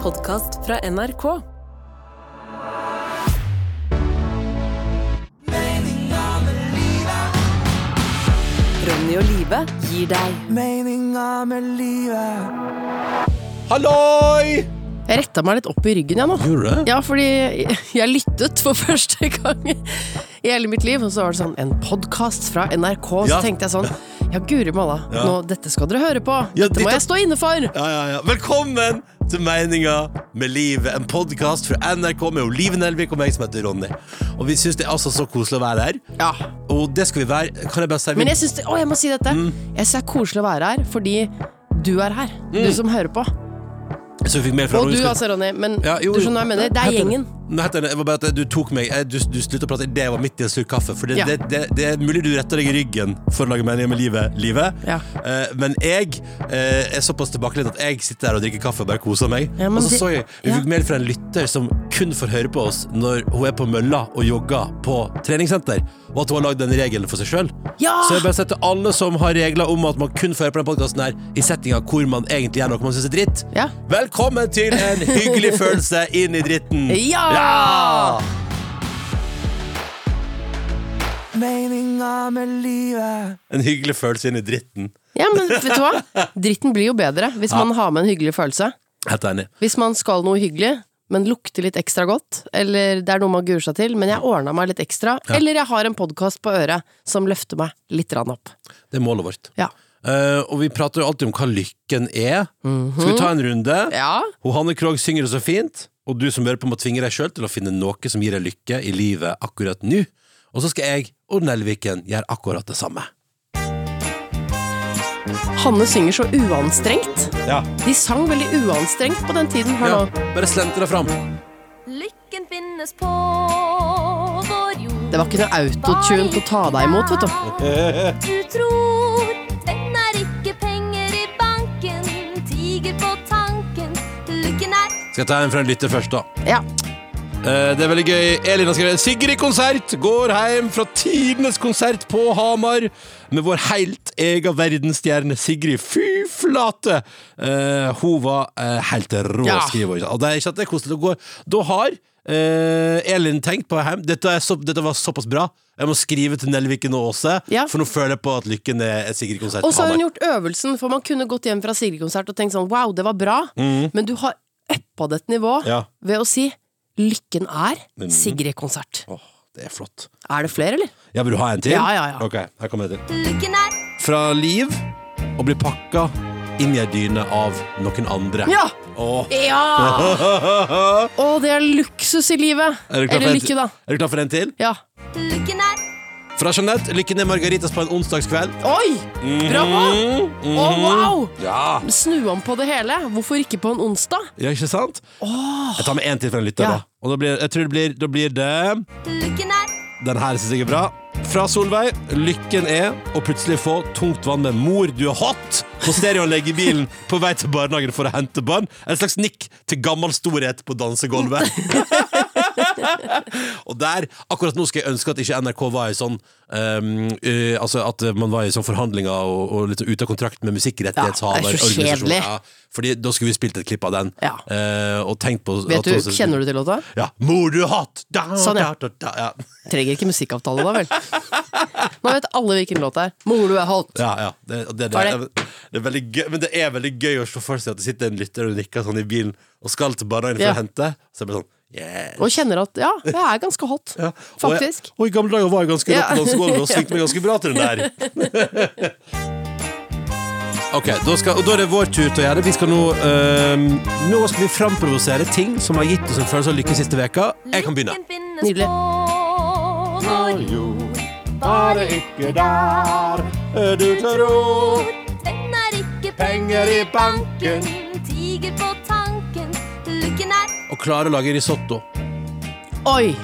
podkast fra NRK. Ronny og Live gir deg Meninga med livet Halloi! Jeg retta meg litt opp i ryggen, jeg nå. Gjorde du det? Ja, fordi jeg lyttet for første gang i hele mitt liv, og så var det sånn en podkast fra NRK, så Ja. tenkte jeg sånn ja, guri malla, Ja. nå, dette skal dere høre på. Ja, Dette må dette- jeg stå inne for! Ja, ja, ja. Velkommen til Meninga med livet, en podkast fra NRK med Olive Nelvik og meg som heter Ronny. Og vi syns det er altså så koselig å være her. Ja. Og det skal vi være. Kan jeg bare si vi- Men jeg syns det, å, jeg må si dette. Jeg synes det er koselig å være her, fordi du er her. Du som hører på. Så vi fikk mer fra Og Ronny, Mm. du skal- altså, Ronny. Men Ja, jo, du skjønner hva jeg mener. Det er Helt enig. gjengen. Nei, helt enig. Det var bare at du tok meg eh, Du, du sluttet å prate Det var midt i en slurk kaffe For det, Ja. det, det, det er mulig du retter deg i ryggen For å lage meninger med livet, livet. Ja. Eh, Men jeg eh, er såpass tilbakelent At jeg sitter der og drikker kaffe Og bare koser meg Ja, men Og så det- så jeg Vi ja. fikk mail fra en lytter Som kun får høre på oss Når hun er på mølla Og jogger på treningssenter Og at hun har lagd den regelen for seg selv Ja! Så jeg bare setter alle som har regler om At man kun får høre på denne podcasten her I settinga hvor man egentlig gjør noe man synes er dritt Ja. Velkommen til en hyggelig følelse inn i dritten. Ja! Meninga med livet En hyggelig følelse inn i dritten. Ja, men vet du hva? Dritten blir jo bedre hvis man har med en hyggelig følelse. Helt enig. Hvis man skal noe hyggelig, men lukter litt ekstra godt, eller det er noe man gruer seg til, men jeg ordna meg litt ekstra, eller jeg har en podkast på øret som løfter meg litt rann opp. Det er målet vårt. Ja. Eh, og vi prater jo alltid om hva lykken er. Skal vi ta en runde? Mhm. Ja. Ho Hanne Krogh synger det så fint, og du som hører på må tvinge deg sjøl til å finne noe som gir deg lykke i livet akkurat nå. Og så skal jeg og Nelviken gjøre akkurat det samme. Hanne synger så uanstrengt. Ja. De sang veldig uanstrengt på den tiden. Hør ja. nå. Bare slentre det fram. Lykken finnes på vår jord. Det var ikke noe autotune på ta deg imot, vet du. Du tror den er ikke penger i banken. Tiger på tanken. Lykken er Skal jeg ta en fra en lytter først, da? Ja. Eh, Det er veldig gøy. Elin har skrevet Sigrid konsert går hjem fra tidenes konsert på Hamar med vår helt egen verdensstjerne Sigrid. Fy flate! Eh, hun var eh, helt rå, Ja. skriver hun. Og det er ikke at det er koselig å gå Da har eh, Elin tenkt på hjem. Dette, er så, dette var såpass bra. Jeg må skrive til Nelviken og Åse, Ja. for nå føler jeg på at lykken er et Sigrid konsert Og så på har hun Hamar. gjort øvelsen, for man kunne gått hjem fra Sigrid-konsert og tenkt sånn wow, det var bra, men du har uppa det et nivå Mhm. Ja. ved å si lykken er Mhm. Sigrid-konsert. Åh, det er flott. Er det flere, eller? Ja, Vil du ha en til? Ja, ja, ja. Ok, her kommer det til. Lykken er fra liv og blir pakka inn i ei dyne av noen andre. Ja! Åh. Ja! Å, det er luksus i livet! Er du klar for Eller en- lykke, da. Er du klar for en til? Ja. Lykken er Fra Jeanette. Lykken er margaritas på en onsdagskveld. Oi! Bravo! Å, wow! Ja. Snu om på det hele. Hvorfor ikke på en onsdag? ja, ikke sant? Jeg tar med en til fra en lytter, Ja. da. Og da blir, jeg tror det blir, da blir det Lykken er Den her syns jeg er bra. Fra Solveig. Lykken er å plutselig få tungt vann med mor du er hot på stereoanlegget i bilen på vei til barnehagen for å hente barn. En slags nikk til gammel storhet på dansegulvet. Og der, akkurat nå skal jeg ønske at ikke NRK var i sånn ehm, eh, Altså at man var i sånn forhandlinger og, og litt ute av kontrakt med Ja, det er så musikkrettighetshaverorganisasjonen. kjedelig. fordi da skulle vi spilt et klipp av den. Ja. Eh, og tenkt på Vet du, Kjenner du til låta? Ja. Mor du er hot! Da, Sånn, ja. Da, da, da, ja. Trenger ikke musikkavtale, da vel? Nå vet alle hvilken låt det er. Mor, du er hot. Ja, ja. Det, og det, det, Ferdig. er, det er veldig gøy, men det er veldig gøy å se for seg at det sitter en lytter og nikker sånn i bilen og skal til barnehagen for Ja. å hente. Så jeg blir sånn yeah. Og kjenner at ja, jeg er ganske hot. Ja. Faktisk. Og, jeg, og i gamle dager var jeg ganske Ja. rå på dansegulvet og svingte meg ganske bra til den der. Ok, da, skal, og da er det vår tur til å gjøre det. Vi skal nå, øhm, nå skal vi framprovosere ting som har gitt oss en følelse av lykke siste veka Jeg kan begynne. Lykken finnes Nydelig. på vår jord. Bare ikke der du tror. Den er ikke penger i banken. Tiger på tanken. Lykken er Og klare å lage risotto. Oi!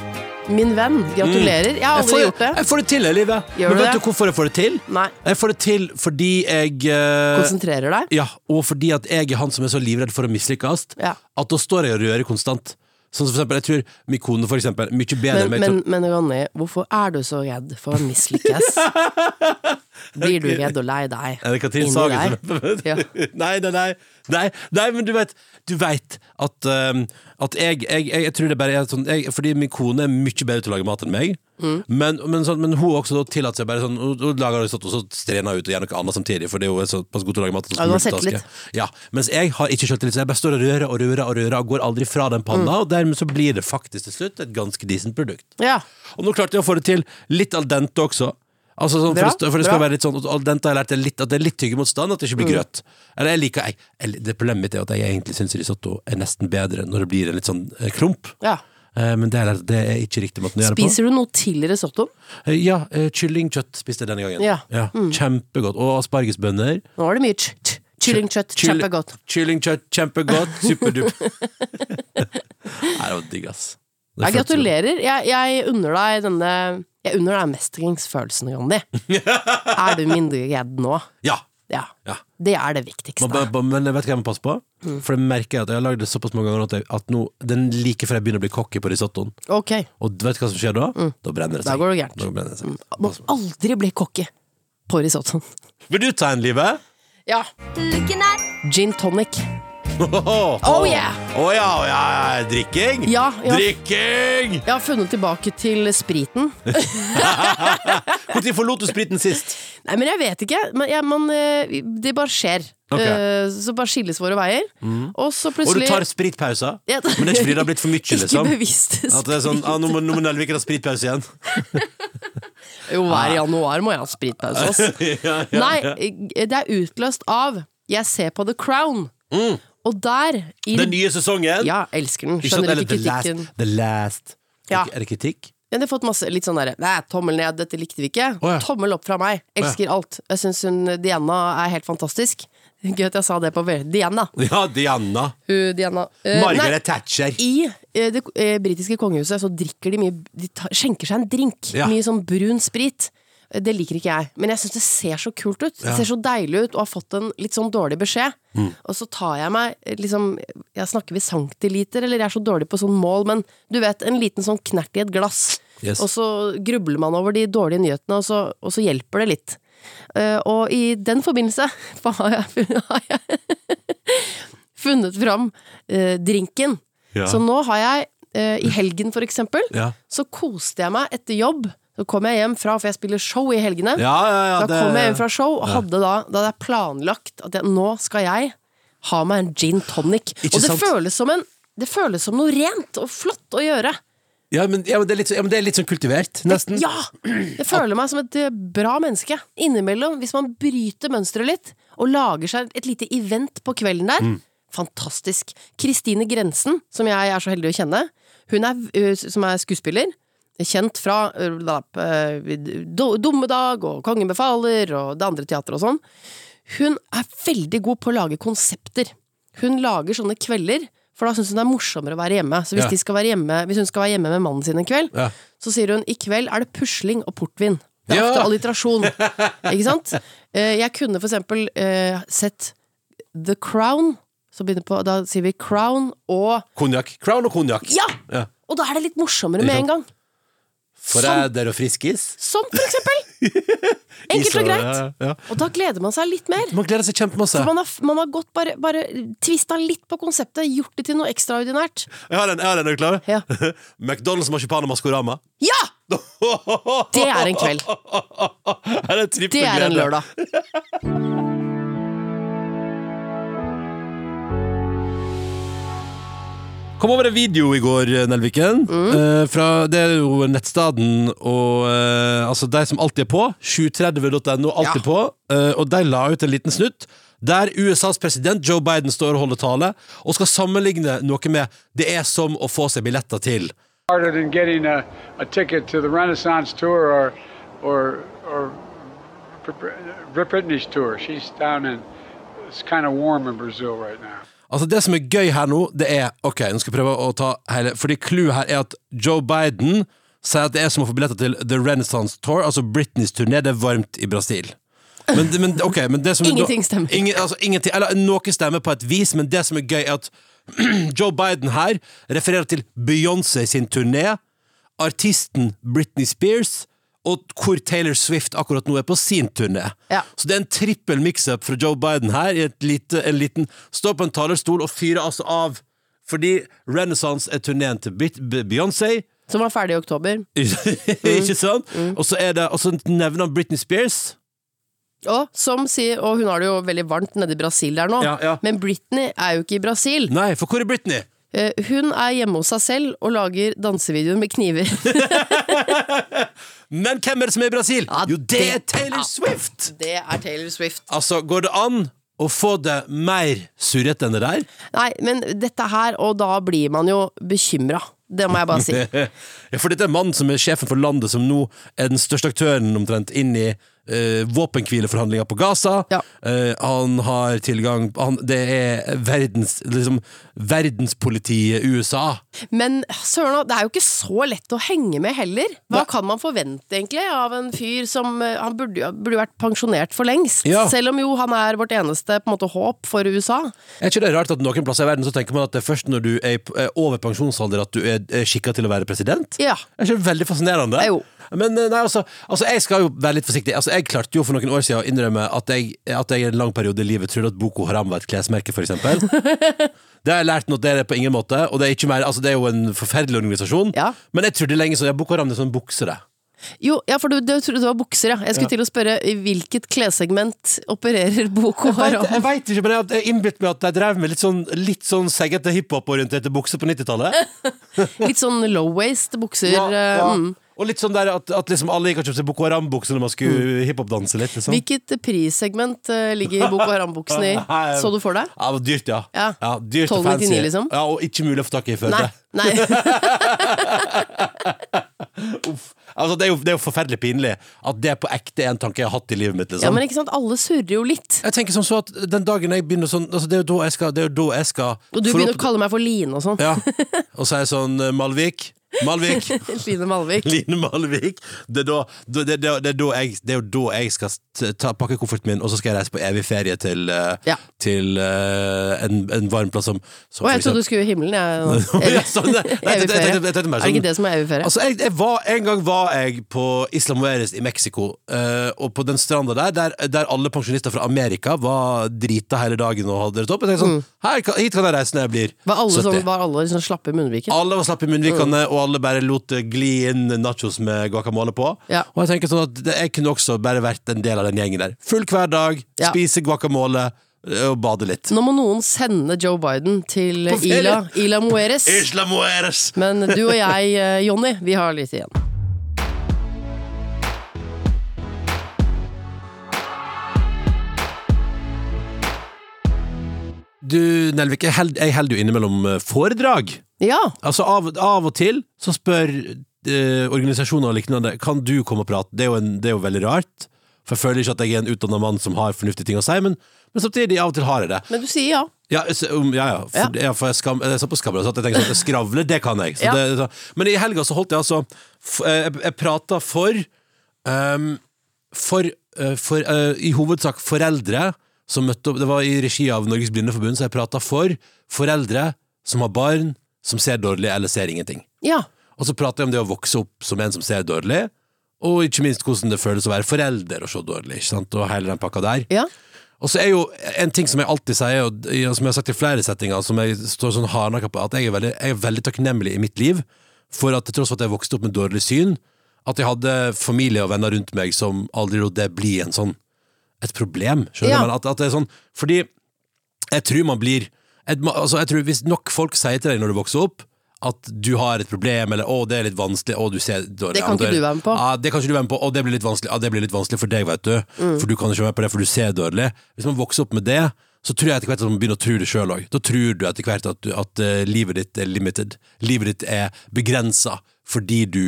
Min venn, gratulerer. Jeg Jeg har aldri får, gjort det. jeg får det til, jeg, livet. Gjør Men du vet det? du hvorfor jeg får det til? Nei. Jeg får det til fordi jeg eh, Konsentrerer deg. Ja, og fordi at jeg er han som er så livredd for å mislykkes, Ja. at da står jeg og rører konstant. Sånn som for eksempel, jeg tror min kone for eksempel, mye bedre Men, enn meg men, men Ronny, hvorfor er du så redd for å mislykkes? blir du redd og lei deg. Er det Katrin Inni Sagen som Ja. nei, nei, nei, nei. Nei, men du vet, du vet at, um, at jeg, jeg, jeg, jeg tror det bare er sånn jeg, Fordi min kone er mye bedre til å lage mat enn meg. Mm. Men, men, sånn, men hun også da tillater seg bare sånn Hun, hun lager det sånn, og så strener hun ut og gjør noe annet samtidig, fordi hun er såpass god til å lage mat. og så Ja, du har multitasker. selvtillit. Ja, mens jeg har ikke selvtillit, så jeg bare står og rører og rører og rører og går aldri fra den panna, Mm. og dermed så blir det faktisk til slutt et ganske decent produkt. Ja. Og nå klarte jeg å få det til litt al dente også. Altså sånn, for, Bra, det, for det skal bra. Mm. være litt sånn Al dente har jeg lært det litt, at det er litt tyggemotstand, at det ikke blir grøt. Eller jeg liker jeg, eller, Det Problemet mitt er at jeg egentlig syns risotto er nesten bedre når det blir en litt sånn eh, klump. ja. Eh, men det er, det er ikke riktig måten å gjøre det på. Spiser du noe til risotto? Eh, ja, eh, kyllingkjøtt spiste jeg denne gangen. Ja. Mm. Kjempegodt. Og aspargesbønner. Nå var det mye ch- ch- kyllingkjøtt. Kyll- Kjempegodt. Kyllingkjøtt, kjempegodt. Superdupp. Nei, det var digg, ass. Det Jeg føltes jo- gratulerer. Jeg, jeg unner deg denne Jeg unner deg mestringsfølelsen, Gandhi. er du mindre redd nå? Ja. Ja. ja. Det er det Man, viktigste. bare- men jeg vet hva jeg må passe på? Mm. For det merker jeg at jeg har lagd det såpass mange ganger at, jeg, at nå, den like før jeg begynner å bli cocky på risottoen. Ok. Og du vet hva som skjer da? Da brenner det seg. Mm. Da går det gærent. Mm. Da brenner det seg. Må aldri bli cocky på risottoen. Vil du ta en, Live? Ja. Lykken er Gin tonic. Oh, Oh, yeah. Å ja, å ja, ja. Drikking? Ja, ja. Drikking! Jeg har funnet tilbake til spriten. Når forlot du spriten sist? Nei, men jeg vet ikke. Men jeg, man, eh, det bare skjer. Ok. Mhm. Eh, Så bare skilles våre veier. Og så Og du plutselig tar spritpauser? Ja. Men det er ikke fordi det har blitt for mye, Ikke liksom? bevisst At det er sånn, ah, nå må, nå må Nelviken ha spritpause igjen. Jo, hver januar må jeg ha spritpause, ass. Nei, det er utløst av Jeg ser på The Crown. Mm. Og der i, Den nye sesongen? Ja, elsker den. Ikke sant? Skjønner Eller ikke The kritikken. Last. The last. Ja. Er det kritikk? Men jeg har fått masse litt sånn derre Nei, tommel ned, dette likte vi ikke. Å, ja. Tommel opp fra meg. Elsker alt. Jeg syns hun Diana er helt fantastisk. Gøy at jeg sa det på vel- Diana. Ja, Diana. Hun Diana. Eh, Margaret Thatcher. nei, I eh, det eh, britiske kongehuset så drikker de mye De tar, skjenker seg en drink. Ja. Mye sånn brun sprit. Eh, Det liker ikke jeg, men jeg syns det ser så kult ut. Det ser så deilig ut, og har fått en litt sånn dårlig beskjed. Mm. Og så tar jeg meg eh, liksom Jeg snakker vi centiliter, eller jeg er så dårlig på sånn mål, men du vet, en liten sånn knert i et glass. Yes. Og så grubler man over de dårlige nyhetene, og så, og så hjelper det litt. Eh, og i den forbindelse har jeg, funnet- har jeg funnet fram eh, drinken. Ja. Så nå har jeg, eh, i helgen for eksempel, Ja. så koste jeg meg etter jobb. Så kom jeg hjem fra, for jeg spiller show i helgene. Ja, ja, ja, da det- kom jeg hjem fra show, og hadde da, da hadde jeg planlagt at jeg, nå skal jeg ha meg en gin tonic. Ikke og det sant? føles, som en, det føles som noe rent og flott å gjøre. Ja, men, ja, men, det, er litt, så- ja, men det er litt sånn kultivert, nesten. Ja! Jeg føler meg som et eh, bra menneske. Innimellom, hvis man bryter mønsteret litt, og lager seg et lite event på kvelden der. Fantastisk. Kristine Grensen, som jeg er så heldig å kjenne, hun er, eh, som er skuespiller. Kjent fra eh, da, eh, Do- Dommedag og Kongen befaler og det andre teatret og sånn. Hun er veldig god på å lage konsepter. Hun lager sånne kvelder, for da syns hun det er morsommere å være hjemme. Så hvis, Ja. de skal være hjemme, hvis hun skal være hjemme med mannen sin en kveld, Ja. så sier hun i kveld er det pusling og portvin. Det er Ja. ofte alliterasjon. Ikke sant? Eh, Jeg kunne for eksempel eh, sett The Crown, så begynner på, da sier vi Crown og Konjakk. Crown og konjakk. Ja! Ja. Og da er det litt morsommere Ikke med sant? en gang. Forræder og friskis. Som for eksempel! Enkelt og greit. Ja, ja. Og da gleder man seg litt mer. Man gleder seg kjempemasse. For man har, man har gått bare, bare tvista litt på konseptet, gjort det til noe ekstraordinært. Jeg har en, jeg har en, er du klar? Ja. McDonald's marsipan og Maskorama. Ja! Det er en kveld. Her er trippel Det er en glede. lørdag. Kom over en video i går, Nelviken. Mm. Eh, fra, det er jo nettstaden og eh, altså de som alltid er på. 730.no, alltid Ja. på. Eh, og de la ut en liten snutt der USAs president Joe Biden står og holder tale og skal sammenligne noe med 'det er som å få seg billetter til'. harder than getting a, a ticket to the Renaissance tour or or or Brit Britney's tour. She's down in it's kind of warm in Brazil right now. Altså Det som er gøy her nå, det er Ok, nå skal jeg prøve å ta hele Fordi clouet her er at Joe Biden sier at det er som å få billetter til The Renaissance Tour, altså Britneys turné. Det er varmt i Brasil. Men, men, ok, men det som Ingenting stemmer. Ingen, altså, ingenting, eller noe stemmer på et vis, men det som er gøy, er at Joe Biden her refererer til Beyoncé sin turné, artisten Britney Spears og hvor Taylor Swift akkurat nå er på sin turné. Ja. Så det er en trippel mix-up fra Joe Biden her, i et lite, en liten Står på en talerstol og fyrer altså av. Fordi Renaissance er turneen til Bit- B- Beyoncé. Som var ferdig i oktober. Ikke sant? Og så er det Og så nevner han Britney Spears. Og, som sier, og hun har det jo veldig varmt nede i Brasil der nå, Ja, ja. men Britney er jo ikke i Brasil. Nei, for hvor er Britney? Eh, Hun er hjemme hos seg selv og lager dansevideoer med kniver. Men hvem er det som er i Brasil? Ja, jo, det er det- Taylor ja. Swift! Det er Taylor Swift. Altså, går det an å få det mer surrete enn det der? Nei, men dette her, og da blir man jo bekymra. Det må jeg bare si. Ja, for dette er mannen som er sjefen for landet, som nå er den største aktøren omtrent inn i eh, våpenhvileforhandlinger på Gaza. Ja. Eh, han har tilgang han, Det er verdens, liksom, verdenspolitiet USA. Men søren, det er jo ikke så lett å henge med heller. Hva kan man forvente, egentlig, av en fyr som eh, Han burde jo burde jo vært pensjonert for lengst. Ja. Selv om jo han er vårt eneste på en måte, håp for USA. Er ikke det rart at noen plasser i verden så tenker man at det er først når du er i- er over pensjonsalder at du er, er skikka til å være president? Ja. Er ikke det veldig fascinerende? Jo. Men eh, nei, altså, altså, jeg skal jo være litt forsiktig. Altså, jeg klarte jo for noen år siden å innrømme at jeg, at jeg i en lang periode i livet trodde at Boko Haram var et klesmerke, for eksempel. det har jeg lært nå, at det er det på ingen måte, og det er, ikke mer, altså, det er jo en forferdelig organisasjon. Ja. Men jeg trodde lenge sånn, ja, Boko Haram det er sånn bukse, det. Jo, ja, for du, du trodde det var bukser, ja. Jeg skulle til å spørre i hvilket klessegment opererer Boko Jeg Haram? vet- jeg vet ikke, men jeg har innbilt meg at jeg drev med litt sånn, litt sånn seggete hiphop-orienterte bukser på 90-tallet. Litt sånn low-waist bukser. Ja, eh, ja. Mm. Og litt sånn der at, at liksom alle gikk og kjøpte seg Boko Haram-bukser når man skulle Mm. hiphop-danse litt. Liksom. Hvilket prissegment eh, ligger Boko Haram-buksene i? Så du for deg? Ja, det var dyrt, ja. Ja. dyrt og 12,99 fancy. liksom. Ja, og ikke mulig å få tak i i Nei. Førde. Nei. Altså, det, er jo, det er jo forferdelig pinlig at det på ekte er en tanke jeg har hatt i livet mitt. Liksom. Ja, men ikke sant, alle surrer jo litt. Jeg tenker som så at den dagen jeg begynner sånn altså, Det er jo da jeg skal, det er jo da jeg skal Og du forhåp- begynner å kalle meg for Line og sånn. ja. Og så er jeg sånn Malvik. Malvik. Line Malvik. Line Malvik. Det er, da, det, det, det, er da jeg, det er jo da jeg skal t- ta, pakke kofferten min, og så skal jeg reise på evig ferie til, eh, Ja. til eh, en, en varm plass som, som Å, jeg trodde du skulle i himmelen, jeg. Å, ja, sånn, nei, jeg tenkte- jeg tenkte- jeg tenkte Evig ferie. mer Er det sånn- ikke det som er evig ferie? Altså, jeg, jeg var, en gang var jeg på Isla Mujeres i Mexico, eh, og på den stranda der, der, der alle pensjonister fra Amerika var drita hele dagen og hadde det topp. Jeg tenkte sånn, her, kan- hit kan jeg reise når jeg blir Mm. Var alle, 70. sånn, var Mm. alle sånn slappe i munnviken? Alle var slapp i munnvikene, og alle bare lot det gli inn nachos med guacamole på. Ja. Og jeg tenker sånn at det- jeg kunne også bare vært en del av den gjengen der. Full hver dag, Ja. spise guacamole eh, og bade litt. Nå må noen sende Joe Biden til På ferie. Ila, Ila Mueres. Isla Mujeres! Men du og jeg, eh, Jonny, vi har litt igjen. Du, Nelvik, jeg held- jeg holder jo innimellom eh, foredrag. Ja, Altså av, av og til så spør eh, organisasjoner og liknende Kan du komme og prate. Det er, jo en, det er jo veldig rart. For jeg føler ikke at jeg er en utdanna mann som har fornuftige ting å si, men, men samtidig, av og til har jeg det. men du sier ja. Ja, så, um, ja, ja. For, ja. for jeg, skam, jeg sa på skabla, så at jeg tenkte sånn, jeg skravler, det kan jeg. Så Ja. det, så. Men i helga så holdt jeg altså f, eh, Jeg, jeg prata for ehm, For, eh, for eh, i hovedsak foreldre som møtte opp Det var i regi av Norges Blindeforbund, så jeg prata for foreldre som har barn som ser dårlig eller ser ingenting. Ja. Og så prater jeg om det å vokse opp som en som ser dårlig, og ikke minst hvordan det føles å være forelder og se dårlig, ikke sant? og hele den pakka der. ja. Og så er jo en ting som jeg alltid sier, og og som jeg har sagt i flere settinger, som jeg står sånn hardnakka på, at jeg er, veldig, jeg er veldig takknemlig i mitt liv for at til tross for at jeg vokste opp med dårlig syn, at jeg hadde familie og venner rundt meg som aldri lot det bli en sånn, et problem. Skjønner Ja. du? Men At, at det er sånn, fordi jeg tror man blir et, ma- altså jeg tror Hvis nok folk sier til deg når du vokser opp at du har et problem, eller 'å, det er litt vanskelig', 'å, du ser dårlig Det kan ikke er- du være med på. Ja, det kan ikke du være med på, 'å, det blir litt vanskelig', ja, det blir litt vanskelig for deg, vet du, Mm. for du kan ikke være med på det, for du ser dårlig. Hvis man vokser opp med det, så tror jeg etter hvert at man begynner å tro det sjøl òg. Da tror du etter hvert at, du, at eh, livet ditt er limited. Livet ditt er begrensa fordi du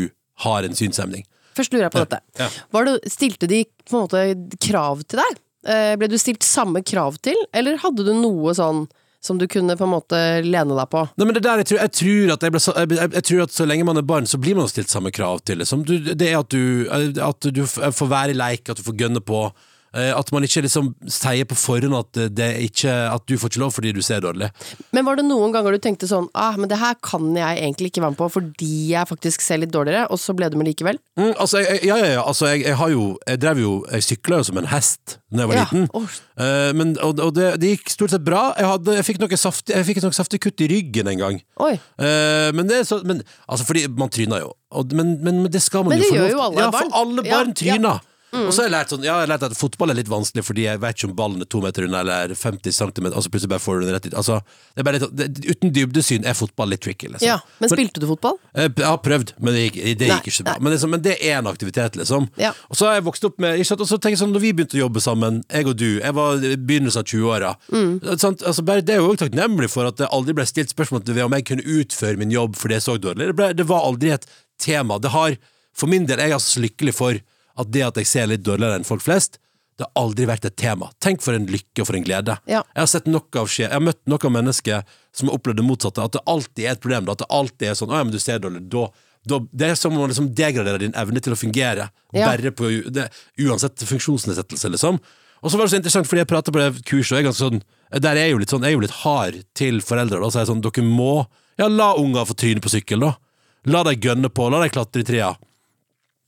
har en synshemning. Først lurer jeg på dette. Ja. Var det, stilte de på en måte krav til deg? Eh, Ble du stilt samme krav til, eller hadde du noe sånn som du kunne på en måte lene deg på? Nei, men det der, jeg tror, jeg, tror at jeg, ble, sa- jeg, jeg, jeg tror at så lenge man er barn, så blir man eh, stilt samme krav til. Liksom. Du, det er at du, at du f- får være i leik, at du får gønne på. Eh, At man ikke liksom sier på forhånd at, det er ikke, at du får ikke lov fordi du ser dårlig. Men var det noen ganger du tenkte sånn ah, men det her kan jeg egentlig ikke være med på fordi jeg faktisk ser litt dårligere, og så ble du med likevel? Mm, altså, jeg, jeg- ja, ja, ja. Altså, jeg, jeg har jo Jeg drev jo Jeg sykla jo som en hest da jeg var Ja. liten. Åh. Eh, men, og og det, det gikk stort sett bra. Jeg, hadde, jeg, fikk noe saftig, jeg fikk et noe saftig kutt i ryggen en gang. Oi. Eh, men det er så men, Altså, fordi man tryner jo. Og, men, men, men det skal man Men det jo. få gjør lov til. jo alle ja, barn. For alle Ja, Mm. barn ja. tryner. Og så har jeg lært sånn, ja, jeg har lært at fotball er litt vanskelig, fordi jeg vet ikke om ballen er to meter unna eller 50 cm. Altså plutselig bare får du den rett ut. Altså, det er bare litt, det, uten dybdesyn er fotball litt tricky. Liksom. Ja, men For- spilte du fotball? jeg Eh, jeg har prøvd, men det gikk, det Nei, gikk ikke så bra. nei. Men, liksom, men det er en aktivitet, liksom. Ja. Og så har jeg vokst opp med ikke sant? Og så tenker jeg sånn, Når vi begynte å jobbe sammen, jeg og du Jeg var i begynnelsen av 20-åra. Mm. Sant? Altså, bare det er jeg jo også takknemlig for at det aldri ble stilt spørsmål til om jeg kunne utføre min jobb fordi jeg så dårlig. Det, ble, det var aldri et tema. Det har, For min del er jeg altså så lykkelig for at det at jeg ser litt dårligere enn folk flest, det har aldri vært et tema. Tenk for en lykke og for en glede. Ja. Jeg har sett nok av skje Jeg har møtt nok av mennesker som har opplevd det motsatte. At det alltid er et problem. da. At det alltid er sånn Å ja, men du ser dårlig. Da, da Det er som om man liksom degraderer din evne til å fungere. Ja. Bare på det, Uansett funksjonsnedsettelse, liksom. Og så var det så interessant, fordi jeg prater på det kurset, og jeg er ganske sånn Der er jeg jo litt sånn Jeg er jo litt hard til foreldre. Da så er jeg sånn Dere må Ja, la unger få tryne på sykkel, da. La dem gønne på. La dem klatre i trærne.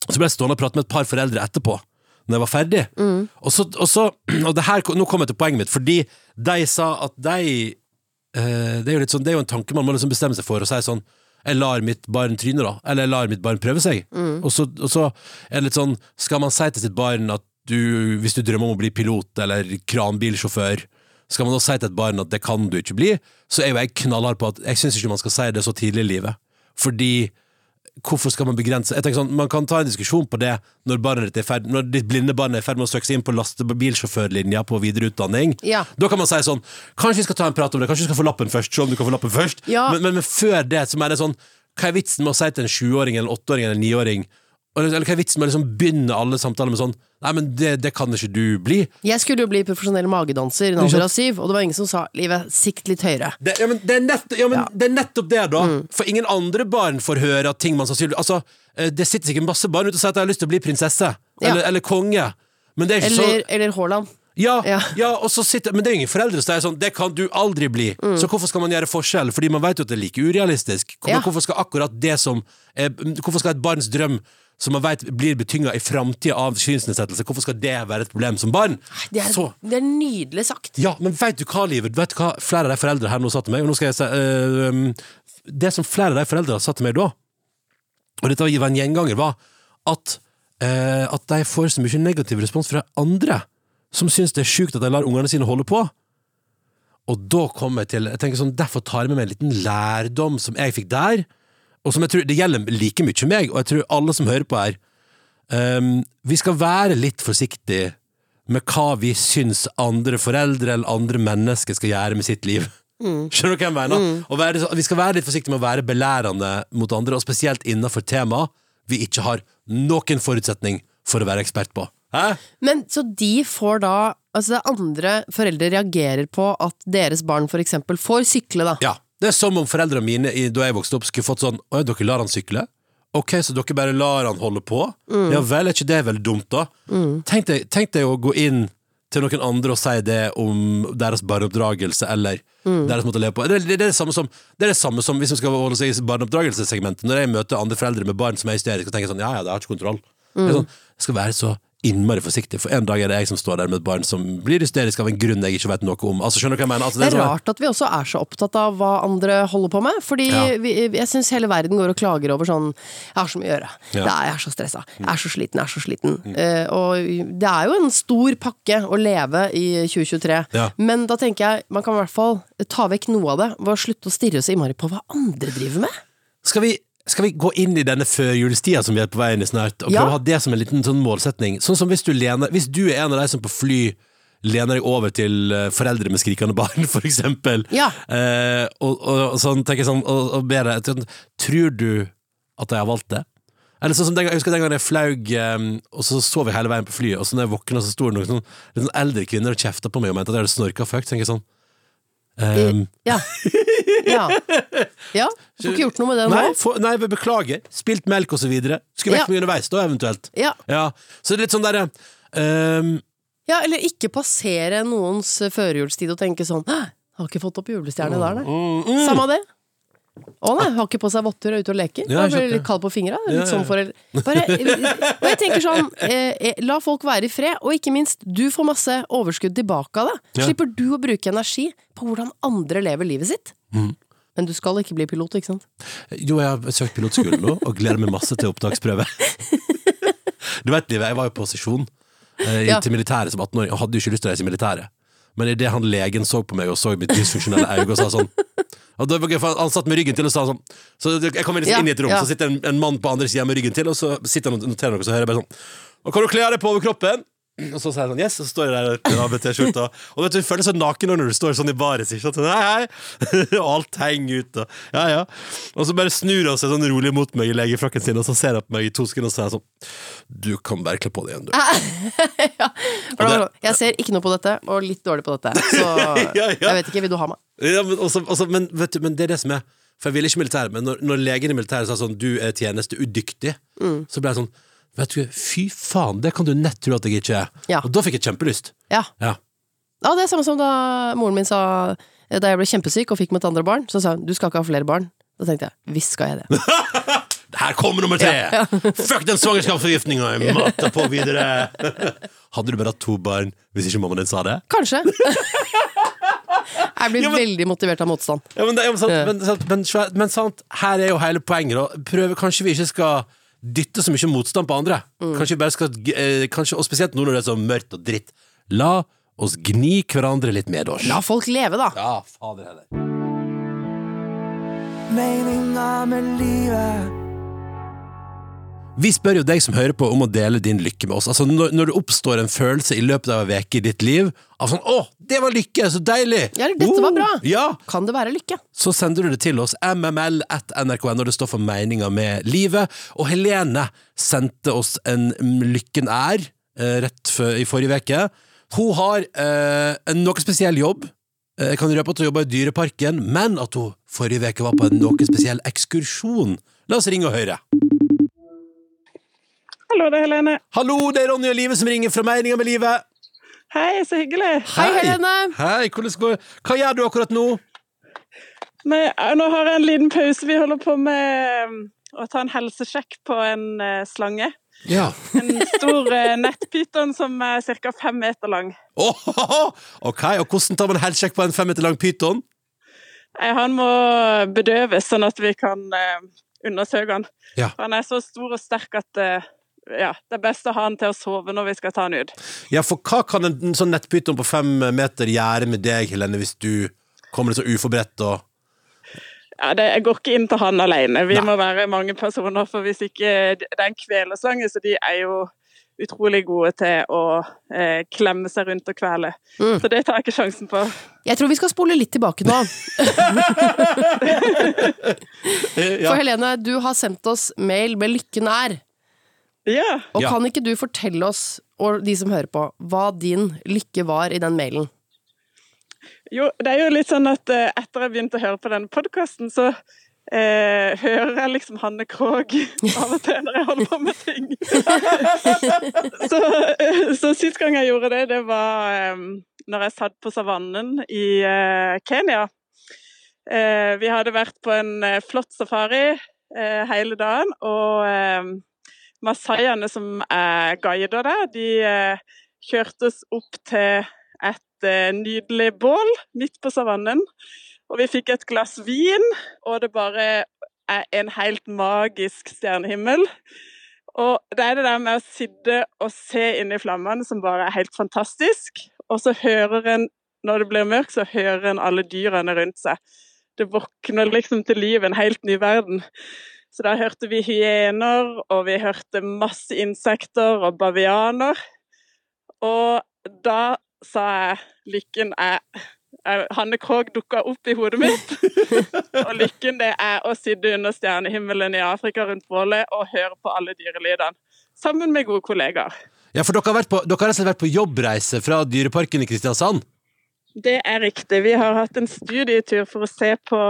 Så ble jeg stående og prate med et par foreldre etterpå, når jeg var ferdig. Og, så, og, så, og det her, nå kom jeg til poenget mitt, fordi de sa at de eh, det, er jo litt sånn, det er jo en tanke man må liksom bestemme seg for, og si sånn jeg lar mitt barn tryne, da. Eller jeg lar mitt barn prøve seg. Og, så, og så er det litt sånn Skal man si til sitt barn at du, hvis du drømmer om å bli pilot eller kranbilsjåfør, skal man da si til et barn at det kan du ikke bli, så er jo jeg knallhard på at jeg syns ikke man skal si det så tidlig i livet. Fordi hvorfor skal man begrense Jeg tenker sånn, Man kan ta en diskusjon på det når, barnet ditt, er ferd, når ditt blinde barn er i ferd med å søke seg inn på lastebilsjåførlinja på videreutdanning. Ja. Da kan man si sånn Kanskje vi skal ta en prat om det, kanskje vi skal få lappen først. Se om du kan få lappen først. Ja. Men, men, men før det så er det sånn Hva er vitsen med å si til en sjuåring eller en åtteåring eller en niåring og- Eller hva er vitsen med å liksom begynne alle samtaler med sånn Nei, men det, det kan ikke du bli. Jeg skulle jo bli profesjonell magedanser i en alder sant? av syv, og det var ingen som sa 'livet, sikt litt høyere'. Det, ja, men det, er nett, ja, men Ja. Mm. det er nettopp det, da. For ingen andre barn får høre at ting man sannsynligvis Altså, eh, det sitter sikkert masse barn ute og sier at de har lyst til å bli prinsesse. Ja. Eller, eller konge. Men det er ikke Eller, sånn eller Haaland. ja, ja. ja. og så sitter, men det er jo ingen foreldre som er sånn 'Det kan du aldri bli'. Mm. Så hvorfor skal man gjøre forskjell? Fordi man vet jo at det er like urealistisk. Hvor, Ja. Hvorfor skal akkurat det som eh, Hvorfor skal et barns drøm som man vet blir betynga i framtida av synsnedsettelse, hvorfor skal det være et problem som barn? Det er, Så det er nydelig sagt. ja, men vet du hva, Livet? Vet du hva flere av de foreldre her nå sa til meg? Og nå skal jeg si, eh, um, det som flere av de foreldre sa til meg da, og dette var en gjenganger, var at, eh, at de får så mye negativ respons fra andre som syns det er sjukt at de lar ungene sine holde på. Og da kom jeg til jeg tenker sånn, Derfor tar jeg med meg en liten lærdom som jeg fikk der, og som jeg tror det gjelder like mye meg, og jeg tror alle som hører på her. Um, vi skal være litt forsiktige med hva vi syns andre foreldre eller andre mennesker skal gjøre med sitt liv. Skjønner du hva jeg mener? Å være, så- vi skal være litt forsiktige med å være belærende mot andre, og spesielt innenfor tema vi ikke har noen forutsetning for å være ekspert på. Hæ? Men så de får da Altså det andre foreldre reagerer på at deres barn for eksempel får sykle, da. Ja, det er som om foreldrene mine i- da jeg vokste opp skulle fått sånn Åja, dere lar han sykle? Ok, så dere bare lar han holde på? Mm. Ja vel, er ikke det veldig dumt da? Tenk deg- tenk deg å gå inn til noen andre og si det om deres barneoppdragelse eller Mm. deres måte å leve på. Det, det, det, er det, samme som, det er det samme som hvis man skal holde seg i barneoppdragelsessegmentet. Når jeg møter andre foreldre med barn som er hysteriske og tenker sånn Ja ja, det har ikke kontroll. Mm. Det er sånn, jeg skal være så innmari forsiktig, for en dag er det jeg som står der med et barn som blir hysterisk av en grunn jeg ikke vet noe om. Altså, skjønner du hva jeg mener? Altså, Det er sånn her- rart at vi også er så opptatt av hva andre holder på med, fordi Ja. vi, jeg syns hele verden går og klager over sånn 'jeg har så mye å gjøre', Ja. Mm. Nei, 'jeg er så stressa', 'jeg er så sliten', 'jeg er så sliten'. Eh, og det er jo en stor pakke å leve i 2023, Ja. men da tenker jeg man kan i hvert fall ta vekk noe av det ved å slutte å stirre så innmari på hva andre driver med. Skal vi, skal vi gå inn i denne førjulstida som vi er på vei inn i snart, og Ja. prøve å ha det som en liten sånn målsetning? Sånn som hvis du, lener, hvis du er en av de som på fly lener deg over til eh, foreldre med skrikende barn, for eksempel, Ja. eh, og, og, og sånn, tenker jeg sånn, og, og ber deg sånn, Tror du at de har valgt det? Eller sånn som den, gang- Jeg husker den gangen jeg flaug, eh, og så sov jeg hele veien på flyet, og så når jeg våkna, så sto det noen sånn, litt sånn eldre kvinner og kjefta på meg og mente at jeg hadde snorka for høyt. Så tenker jeg sånn Eh, ehm, Ja. ja. ja. Får ikke gjort noe med det nå. Nei, for, nei, beklager. Spilt melk og så videre. Skulle vekk Ja. med underveis, da, eventuelt. Ja. Ja. Så det er litt sånn derre ehm, Ja, eller ikke passere noens førjulstid og tenke sånn «Hæ, Har ikke fått opp julestjerne der, nei. Samme det. Å nei, har ikke på seg votter og er ute og leker. Ja, Da jeg blir skjønte. det litt kald på fingra. Ja, Litt ja. sånn forel- Bare, og jeg tenker sånn, eh, eh, la folk være i fred, og ikke minst, du får masse overskudd tilbake av det. Ja. Slipper du å bruke energi på hvordan andre lever livet sitt. Mm. Men du skal ikke bli pilot, ikke sant? Jo, jeg har søkt pilotskolen nå, og gleder meg masse til opptaksprøve. Du vet, Livet, jeg var jo på sesjon eh, Ja. til militæret som 18-åring, og hadde jo ikke lyst til å reise i militæret. Men idet han legen så på meg og så mitt dysfunksjonelle øye og sa sånn og da, for Han satt med ryggen til og sa sånn Så jeg kommer inn, Ja, inn i et rom, ja. så sitter en, en mann på andre sida med ryggen til, og så sitter han og noterer noe, og så hører jeg bare sånn Og kan du kle av deg på overkroppen? Og så sier jeg sånn, yes, og så står jeg der i ABT-skjorta. Og vet du, du føler deg så naken når du står sånn i baris. Ikke sant? Sånn, Hei, hei. Og alt henger ut. Og, ja, ja. og så bare snur han seg sånn rolig mot meg i legefrakken sin, og så ser han på meg i to sekunder og sier sånn Du kan bare kle på deg igjen, du. For da var det sånn, Jeg ser ikke noe på dette, og litt dårlig på dette. Så Ja, ja. jeg vet ikke, vil du ha meg? Ja, men, også, også, men, vet du, men det er det som er For jeg ville ikke militæret, men når, når legen i militæret sa sånn Du er tjenesteudyktig, så ble jeg sånn Vet du, fy faen, det kan du nett tro at jeg ikke er. Ja. Og da fikk jeg kjempelyst. Ja. Ja. ja, det er samme som da moren min sa eh, da jeg ble kjempesyk og fikk mitt andre barn, så sa hun du skal ikke ha flere barn. Da tenkte jeg visst skal jeg det. Her kommer nummer tre! Fuck den svangerskapsforgiftninga! Jeg mater på videre! Hadde du bare hatt to barn hvis ikke mammaen din sa det? Kanskje. Jeg blir Ja, men- veldig motivert av motstand. Ja, men, det- ja, men, sant, Ja. men, sant, men, svæ- men sant, her er jo hele poenget. Da. Prøve, kanskje vi ikke skal dytte så mye motstand på andre. Mm. Kanskje vi bare skal, g- eh, kanskje, og Spesielt nå når det er så mørkt og dritt. La oss gni hverandre litt medårs. La folk leve, da. Ja, fader heller. Meninga med livet. Vi spør jo deg som hører på om å dele din lykke med oss. Altså Når, når det oppstår en følelse i løpet av en uke i ditt liv av sånn 'Å, det var lykke! Så deilig!' Ja, eller, «Dette var bra!» Ja, Kan det være lykke? så sender du det til oss, mml at nrk.no, det står for meninga med livet. Og Helene sendte oss en mm, Lykken er, eh, rett før, i forrige uke. Hun har eh, en noe spesiell jobb. Eh, Jeg kan røpe at hun jobber i Dyreparken, men at hun forrige uke var på en noe spesiell ekskursjon. La oss ringe og høre. Hallo, det er Helene. Hallo, det er Ronny og Live som ringer fra Meninga med livet. Hei, så hyggelig. Hei, Helene! Hei, hvordan går Hva gjør du akkurat nå? Nei, eh, nå har jeg en liten pause. Vi holder på med eh, å ta en helsesjekk på en eh, slange. Ja. En stor eh, nettpyton som er ca. fem meter lang. ok, og hvordan tar man helsjekk på en fem meter lang pyton? Eh, Han må bedøves sånn at vi kan eh, undersøke han. Ja. For Han er så stor og sterk at eh, ja, det er best å ha han til å sove når vi skal ta han ut. Ja, for hva kan en en sånn nettpyton på fem meter gjøre med deg, Helene, hvis du kommer litt så uforberedt og Ja, det, jeg går ikke inn til han alene. Vi Nei. må være mange personer, for hvis ikke det er en kvelerslange, så de er jo utrolig gode til å eh, klemme seg rundt og kvele. Mm. Så det tar jeg ikke sjansen på. Jeg tror vi skal spole litt tilbake nå. For Helene, du har sendt oss mail med 'lykken er'. Ja, Og Ja. kan ikke du fortelle oss, og de som hører på, hva din lykke var i den mailen? jo, det er jo litt sånn at eh, etter jeg begynte å høre på denne podkasten, så eh, hører jeg liksom Hanne Krogh av og til når jeg holder på med ting. så, eh, så sist gang jeg gjorde det, det var eh, når jeg satt på savannen i eh, Kenya. Eh, vi hadde vært på en eh, flott safari eh, hele dagen, og eh, masaiene som er guider der, de eh, kjørte oss opp til et eh, nydelig bål midt på savannen. Og vi fikk et glass vin, og det bare er en helt magisk stjernehimmel. Og det er det der med å sitte og se inn i flammene som bare er helt fantastisk. Og så hører en, når det blir mørkt, så hører en alle dyrene rundt seg. Det våkner liksom til liv, en helt ny verden. Så da hørte vi hyener, og vi hørte masse insekter og bavianer. Og da sa jeg lykken er jeg- Hanne Krogh dukka opp i hodet mitt. og lykken det er å sitte under stjernehimmelen i Afrika rundt bålet og høre på alle dyrelydene. Sammen med gode kollegaer. Ja, for dere har, vært på, dere har rett og slett vært på jobbreise fra Dyreparken i Kristiansand. Det er riktig. Vi har hatt en studietur for å se på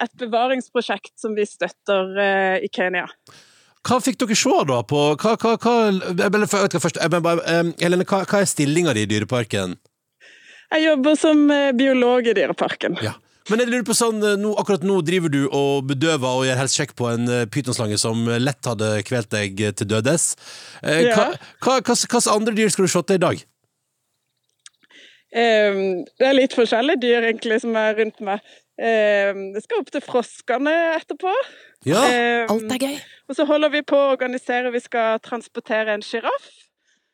et bevaringsprosjekt som vi støtter eh, i Kenya. Hva fikk dere se, da? På, hva, hva, hva, jeg vil- jeg vet ikke først, jeg vil bare, eh, Helene, hva, hva er stillinga di i Dyreparken? Jeg jobber som eh, biolog i Dyreparken. Ja. Men jeg lurer på sånn, eh, nå, akkurat nå driver du og bedøver og gjør helsesjekk på en eh, pytonslange som lett hadde kvelt deg eh, til dødes. Eh, Ja. hva, hva, hva, hva slags andre dyr skal du shotte i dag? Ehm, Det er litt forskjellige dyr egentlig som er rundt meg. Ehm, Det skal opp til froskene etterpå. Ja. Ehm, Alt er gøy. Og så holder vi på å organisere, vi skal transportere en sjiraff.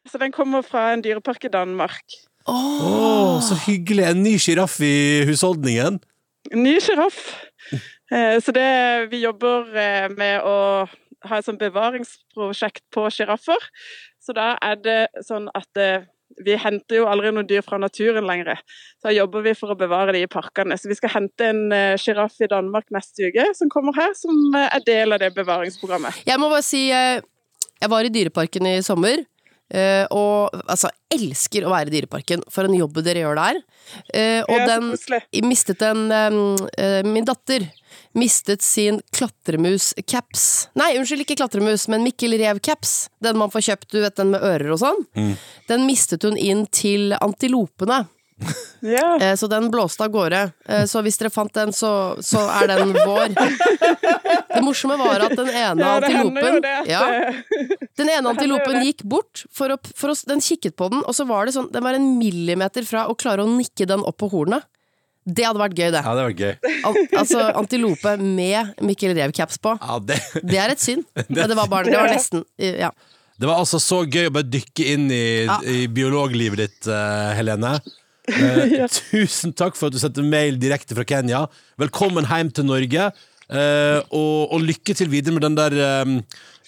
Så den kommer fra en dyrepark i Danmark. Åh, Å, så hyggelig! En ny sjiraff i husholdningen. En ny sjiraff. Eh, Så det, vi jobber eh, med å ha et sånt bevaringsprosjekt på sjiraffer. Så da er det sånn at eh, vi henter jo aldri noen dyr fra naturen lenger. Så da jobber vi for å bevare de i parkene. Så vi skal hente en eh, sjiraff i Danmark neste uke som kommer her, som eh, er del av det bevaringsprogrammet. Jeg må bare si eh, Jeg var i Dyreparken i sommer. eh, og altså, elsker å være i Dyreparken. For en jobb dere gjør der. Eh, og Ja, så den koselig. mistet en em, eh, Min datter mistet sin klatremus-caps. Nei, unnskyld, ikke klatremus, men Mikkel Rev-caps. Den man får kjøpt, du vet den med ører og sånn. Den mistet hun inn til antilopene. Ja. Eh, Så den blåste av gårde. Eh, Så hvis dere fant den, så, så er den vår. Det morsomme var at den ene Ja, det hender jo antilopen det at ja, eh, Den ene antilopen det. gikk bort. For å, for å, den kikket på den, og så var det sånn Den var en millimeter fra å klare å nikke den opp på hornet. Det hadde vært gøy, det. Ja, det var gøy. Al altså antilope med Mikkel Rev-caps på. Ja, det, Det er et synd. Men det var, bare, det var nesten Ja. det var altså så gøy å bare dykke inn i, Ja. i biologlivet ditt, eh, Helene. Eh, Tusen takk for at du sendte mail direkte fra Kenya. Velkommen hjem til Norge. eh, og, og lykke til videre med den der eh,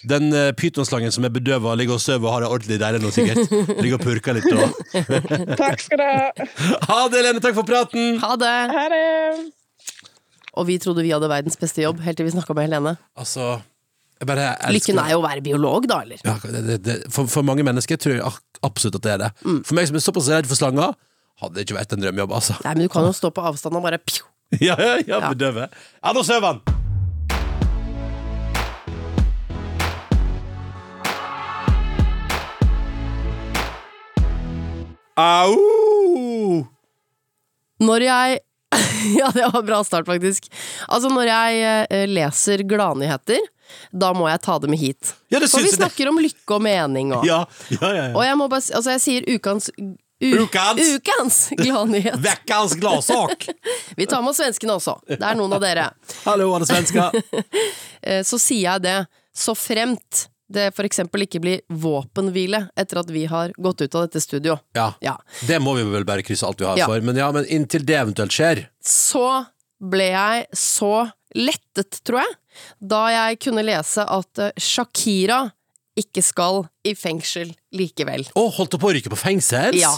Den eh, pytonslangen som er bedøva, ligger og sover og har det ordentlig deilig nå, sikkert. Ligger og purker litt og Takk skal du ha. Ha det, Helene! Takk for praten! Ha det! Ha det. Og vi trodde vi hadde verdens beste jobb, helt til vi snakka med Helene. Altså, jeg bare elsker Lykken er jo å være biolog, da, eller? Ja, det, det, det, for, for mange mennesker tror jeg ak- absolutt at det er det. Mm. For meg som er såpass redd for slanger, hadde det ikke vært en drømmejobb, altså. Nei, men du kan jo stå på avstand og bare pju. ja, ja, ja, bedøve. Ja, nå sover han! Au! Når jeg Ja, det var en bra start, faktisk. Altså, når jeg eh, leser gladnyheter, da må jeg ta dem med hit. Ja, det For vi syns jeg det. snakker om lykke og mening og Ja, ja, ja. Og ja. jeg må bare si Altså, jeg sier ukens u Ukans! ukens gladnyhet. Veckans gladsak! Vi tar med oss svenskene også. Det er noen av dere. Hallo, alle svensker. Eh, Så sier jeg det så fremt det for eksempel ikke blir våpenhvile etter at vi har gått ut av dette studio. Ja. Ja. Det må vi vel bare krysse alt vi har Ja. for. Men ja, men inntil det eventuelt skjer. så ble jeg så lettet, tror jeg, da jeg kunne lese at eh, Shakira ikke skal i fengsel likevel. Å, holdt du på å ryke på fengsels? Ja.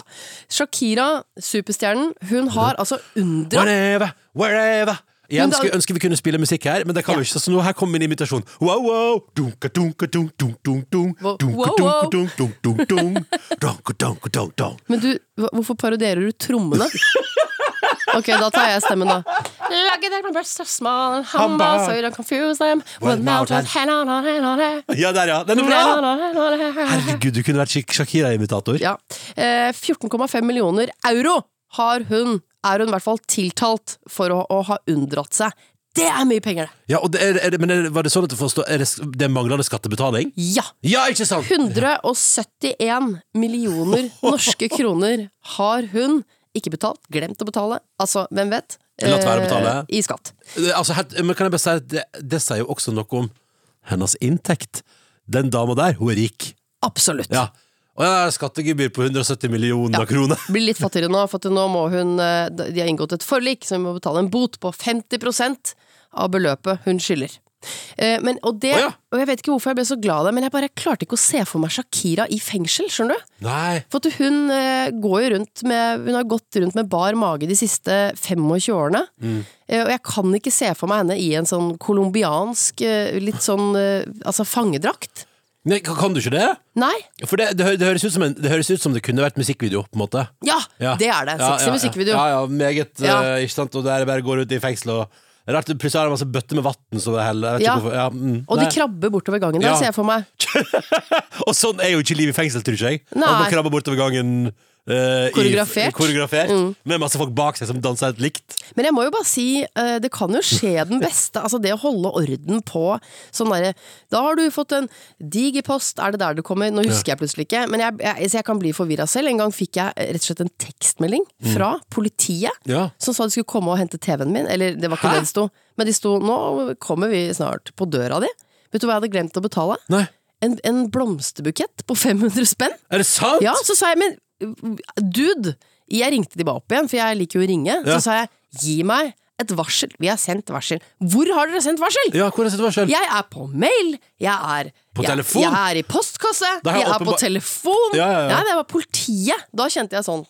Shakira, superstjernen, hun har altså unndratt Wherever, wherever Igjen Men da- skulle ønske vi kunne spille musikk her, men det kan vi ikke. Så nå her kommer min invitasjon. Wow, wow. Dunka, dunka, dunk, dunk, dunk, dunk. Wow, Dunka, wow, dunka, wow. dunk, dunk, dunk, dunk. Dunka, dunka, dunk, dunk. Men du, hva- hvorfor parodierer du trommene? Ok, da tar jeg stemmen, da. Like their breasts are small and humble, so you don't confuse them with mouth and hand on on hand on hand. Ja, der, ja. Den er bra! Herregud, du kunne vært Shak- Shakira-imitator. Ja. Eh, 14,5 millioner euro har hun, er hun i hvert fall tiltalt for å, å ha unndratt seg. Det er mye penger, det! Ja, og det er, er det, men er, det- var det sånn at du forstår er det, det er manglende skattebetaling? Ja! Ja, ikke sant? 171 millioner norske kroner har hun ikke betalt, glemt å betale, altså hvem vet, Eh, Latt være å betale. i skatt. Det- Altså, helt, men kan jeg bare si at det, det sier jo også noe om hennes inntekt. Den dama der, hun er rik. Absolutt. Ja. Og ja, skattegebyr på 170 millioner kroner. Blir litt fattigere nå, for at nå må hun eh, De har inngått et forlik, så hun må betale en bot på 50 av beløpet hun skylder. Eh, Men, og, det, Å ja. og jeg vet ikke hvorfor jeg ble så glad av det, men jeg bare klarte ikke å se for meg Shakira i fengsel, skjønner du? Nei. For at hun eh, går jo rundt med Hun har gått rundt med bar mage de siste 25 årene. Mm. Eh, og jeg kan ikke se for meg henne i en sånn colombiansk, eh, litt sånn eh, altså fangedrakt. Nei, kan kan du ikke det? Nei! For det, det, hø- det, høres ut som en, det høres ut som det kunne vært musikkvideo, på en måte. Ja, det er det. Sexy ja, ja. musikkvideo. Ja, ja, meget, Ja. eh, ikke sant? Og der bare går ut i fengsel og Rart det plutselig er det masse bøtter med vann som det heller. Ja. Ja, mm. Og de Nei. krabber bortover gangen der, Ja. ser jeg for meg. Og sånn er jo ikke livet i fengsel, tror ikke jeg. Nei. Man må krabbe bortover gangen. eh, i- Koreografert. Mm. koreografert Med masse folk bak seg som danser helt likt. Men jeg må jo bare si, eh, det kan jo skje den beste. Altså det å holde orden på sånn derre Da har du fått en diger post, er det der du kommer? Nå husker jeg plutselig ikke, men jeg, jeg, så jeg kan bli forvirra selv. En gang fikk jeg eh, rett og slett en tekstmelding fra politiet Mm. Ja. som sa de skulle komme og hente TV-en min. Eller det var ikke Hæ? det det sto, men de sto 'nå kommer vi snart' på døra di. Vet du hva jeg hadde glemt å betale? Nei, En, en blomsterbukett på 500 spenn. er det sant?! Ja, så sa jeg, men dude, jeg ringte de bare opp igjen, for jeg liker jo å ringe. Ja. Så sa jeg, gi meg et varsel. Vi har sendt varsel. Hvor har dere sendt varsel? Ja, hvordan er situasjonen? Jeg er på mail, jeg er På jeg, telefon? Jeg er i postkasse, Da har jeg jeg er på åpenbar- telefon. Ja, ja, ja. Nei, det var politiet. Da kjente jeg sånn.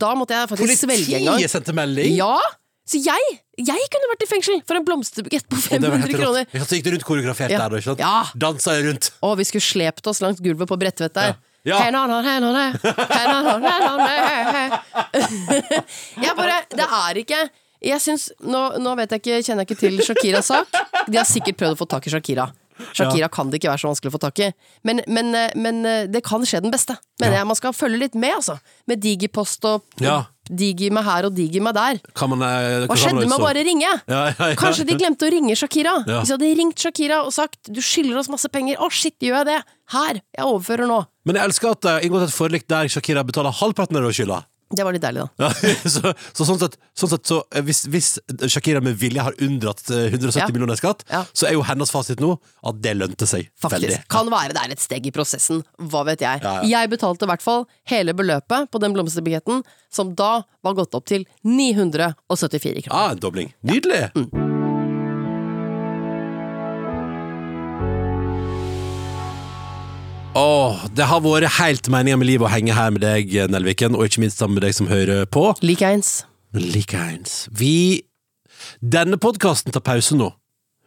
Da måtte jeg faktisk svelge en gang. Politiet sendte melding! Ja, så jeg, jeg kunne vært i fengsel for en blomsterbukett på Og det var helt 500 rått. kroner. Ja, Så gikk du rundt koreografert Ja. der, da. ikke sant? Ja. Dansa rundt. Å, vi skulle slept oss langs gulvet på Bredtvet der. Ja. Ja. Hei, na, na, hei, na, na. Hei, na, na, hei, na, na, hei. Jeg bare Det er ikke Jeg syns Nå, nå vet jeg ikke, kjenner jeg ikke til Shakiras sak. De har sikkert prøvd å få tak i Shakira. Shakira kan det ikke være så vanskelig å få tak i. Men, men, eh, men eh, det kan skje den beste. Mener jeg Man skal følge litt med, altså. Med digipost og Ja. digi meg her og digi meg der. Kan man, eh, kan Hva man skjedde med også- å bare ringe? Ja, ja, ja. Kanskje de glemte å ringe Shakira? Ja. Hvis de hadde ringt Shakira og sagt 'du skylder oss masse penger', å shit, gjør jeg det? Her! Jeg overfører nå. Men jeg elsker at det er inngått et forlik der Shakira betaler halvparten av det hun skylder. Det var litt deilig, Ja, da. så, så sånn sett, sånn sett så, eh, hvis, hvis Shakira med vilje har unndratt eh, 170 Ja. millioner i skatt, Ja. så er jo hennes fasit nå at det lønte seg. Faktisk. Veldig. Kan være det er et steg i prosessen. Hva vet jeg. Ja, Jeg betalte i hvert fall hele beløpet på den blomsterbuketten, som da var gått opp til 974 kroner. Ja, Ah, en dobling. Nydelig! Mm. Åh, det har vært helt meninga med livet å henge her med deg, Nelviken, og ikke minst sammen med deg som hører på. Likeens. Men likeens. Vi Denne podkasten tar pause nå.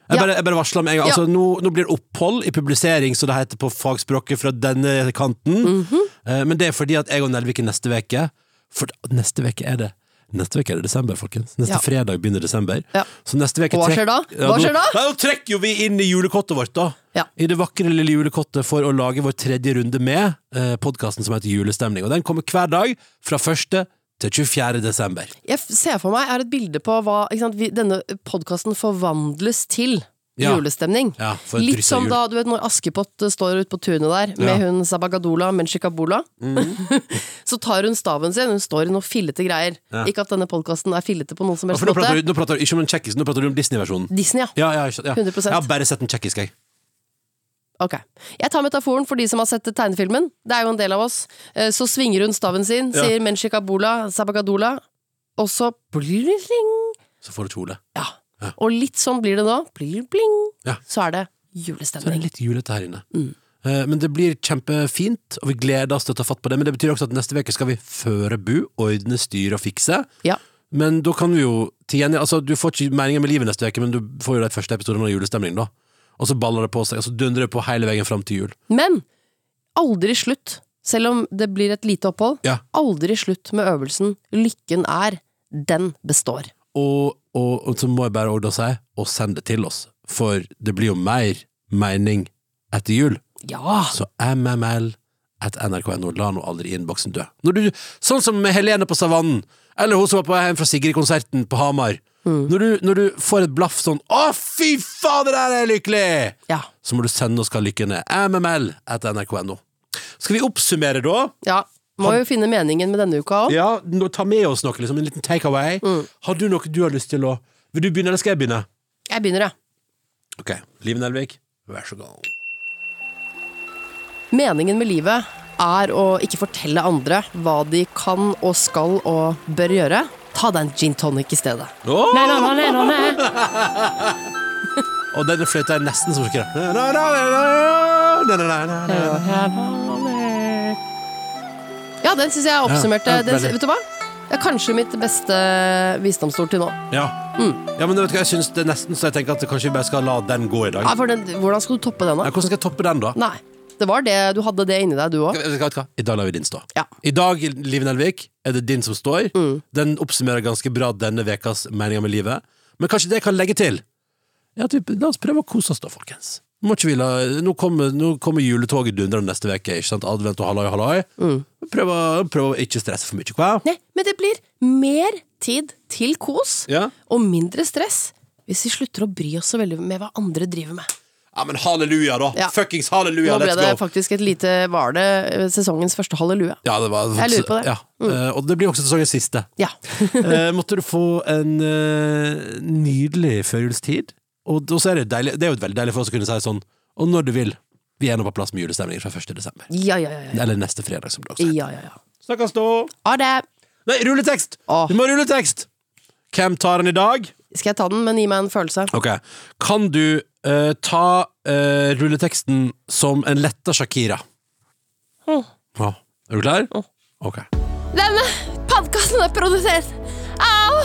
Jeg Ja. bare, jeg bare varsler med en gang. Ja. Altså, nå, nå blir det opphold i publisering, som det heter på fagspråket, fra denne kanten. Mhm. Eh, Men det er fordi at jeg og Nelviken neste veke For neste veke er det Neste veke er det desember, folkens. Neste Ja. fredag begynner desember. Ja. Så neste veke Hva trekk- skjer da? Ja, Hva nå- skjer da? Nei, nå trekker jo vi inn i julekottet vårt, da. Ja. I det vakre lille julekottet for å lage vår tredje runde med eh, podkasten som heter Julestemning. Og den kommer hver dag fra 1. til 24. desember. Jeg f- ser for meg jeg har et bilde på hva ikke sant, vi, denne podkasten forvandles til. Ja. Julestemning. Ja, for et Litt dryss av som jul. da du vet, når Askepott eh, står ute på tunet der med Ja. Mhm. hun Sabagadola Menshikabola. så tar hun staven sin, hun står i noen fillete greier. Ja. Ikke at denne podkasten er fillete på noen som Ja, helst for nå prater, måte. du, nå prater du ikke om den tjekkiske, nå prater du om Disney-versjonen. Disney, ja. Ja, ja, ikke sant, ja. 100%. Jeg har bare sett den tjekkiske, jeg. Ok. Jeg tar metaforen for de som har sett tegnefilmen. Det er jo en del av oss. Eh, Så svinger hun staven sin, Ja. sier Menshikabola Sabagadola, og så bling, Så får du kjole. Ja. Og litt sånn blir det nå. Bling, bling. Ja. Så er det Så er julestemning. det litt julete her inne. Eh, Men det blir kjempefint, og vi gleder oss til å ta fatt på det. Men det betyr også at neste uke skal vi føre bu, ordne, styre og fikse. Ja. Men da kan vi jo til gjengjeld- altså, Du får ikke meningen med livet neste uke, men du får jo de første episodene av julestemning, da. Og så baller det på seg, og så dundrer det på hele veien fram til jul. Men aldri slutt, selv om det blir et lite opphold. Ja. Aldri slutt med øvelsen Lykken er, den består. Og, og, og så må jeg bare også da si, og send det til oss. For det blir jo mer mening etter jul. Ja! Så mml at nrk.no la nå aldri innboksen dø. Når du, sånn som med Helene på Savannen, eller hun som var på vei hjem fra Sigrid-konserten på Hamar. Når, du, når du får et blaff sånn 'Å, fy faen, det der er lykkelig!' Ja. Så må du sende oss hva lykken er. mml at nrk.no. Skal vi oppsummere, da? ja. Må jo finne meningen med denne uka òg. Ja, nå, Ta med oss noe, liksom en liten takeaway. Har du noe du har lyst til å Vil du begynne, eller skal jeg begynne? Jeg begynner, jeg. Ok, Liv Nelvik, vær så god. Meningen med livet er å ikke fortelle andre hva de kan og skal og bør gjøre. Ta deg en gin tonic i stedet. Åh! Nei, nei, nei, nei, nei, nei. Og denne fløyta er nesten som skrev. Na, na, na, na, na, na, na, na, na. Ja, den syns jeg oppsummerte. Ja, ja, Den, veldig. vet du hva? Det er kanskje mitt beste visdomsord til nå. Ja. Mm. ja, men vet du hva, jeg synes det er nesten så jeg tenker at kanskje vi bare skal la den gå i dag. Ja, Mm. for den, hvordan skal du toppe den, Ja, da? hvordan skal jeg toppe den, da? Nei. Det var det, Du hadde det inni deg, du òg. Vet du hva, vet du hva? I dag lar vi din stå. Ja. Mm. I dag, Liv Nelvik, er det din som står. Den oppsummerer ganske bra denne vekas meninga med livet. Men kanskje det jeg kan legge til? Ja, typ, la oss prøve å kose oss da, folkens. Må ikke vi la, nå, kommer, nå kommer juletoget dundrende neste uke, ikke sant? Advent og halloi, halloi. Mm. Prøv, å- prøv å ikke stresse for mye, hva? Nei, men det blir mer tid til kos Ja. og mindre stress hvis vi slutter å bry oss så veldig med hva andre driver med. Ja, men halleluja, da! Ja. Fuckings halleluja, Nå ble let's det go! faktisk et lite Var det eh, sesongens første halleluja? Ja, det var, Jeg lurer på det. Mm. Ja. Eh, Og det blir også sesongens siste. Ja. Eh, måtte du få en eh, nydelig førjulstid. Og da- så er det, deilig, det er jo veldig deilig for oss å kunne si sånn Og når du vil, vi er nå på plass med julestemning fra 1. desember. Ja, ja, ja. ja. Eller neste fredag, som det også heter. ja, ja, ja. Snakkes da! Ha det! Nei, rulletekst! Åh. Du må ha rulletekst! Hvem tar den i dag? Skal jeg ta den, men gi meg en følelse. Ok. Kan du eh, ta eh, rulleteksten som en letta Shakira? Åh. Ja. Er du klar? Åh. Ok. Denne podkasten er produsert av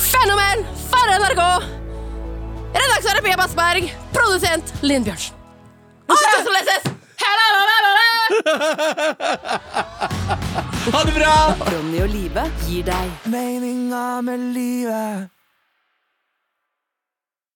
Fenomen for NRK. Redaktør Pia Bassberg. Produsent Linn Bjørnsen. Og det skal leses! Hele landet! Ha det bra! Ronny og Live gir deg Meninga med livet.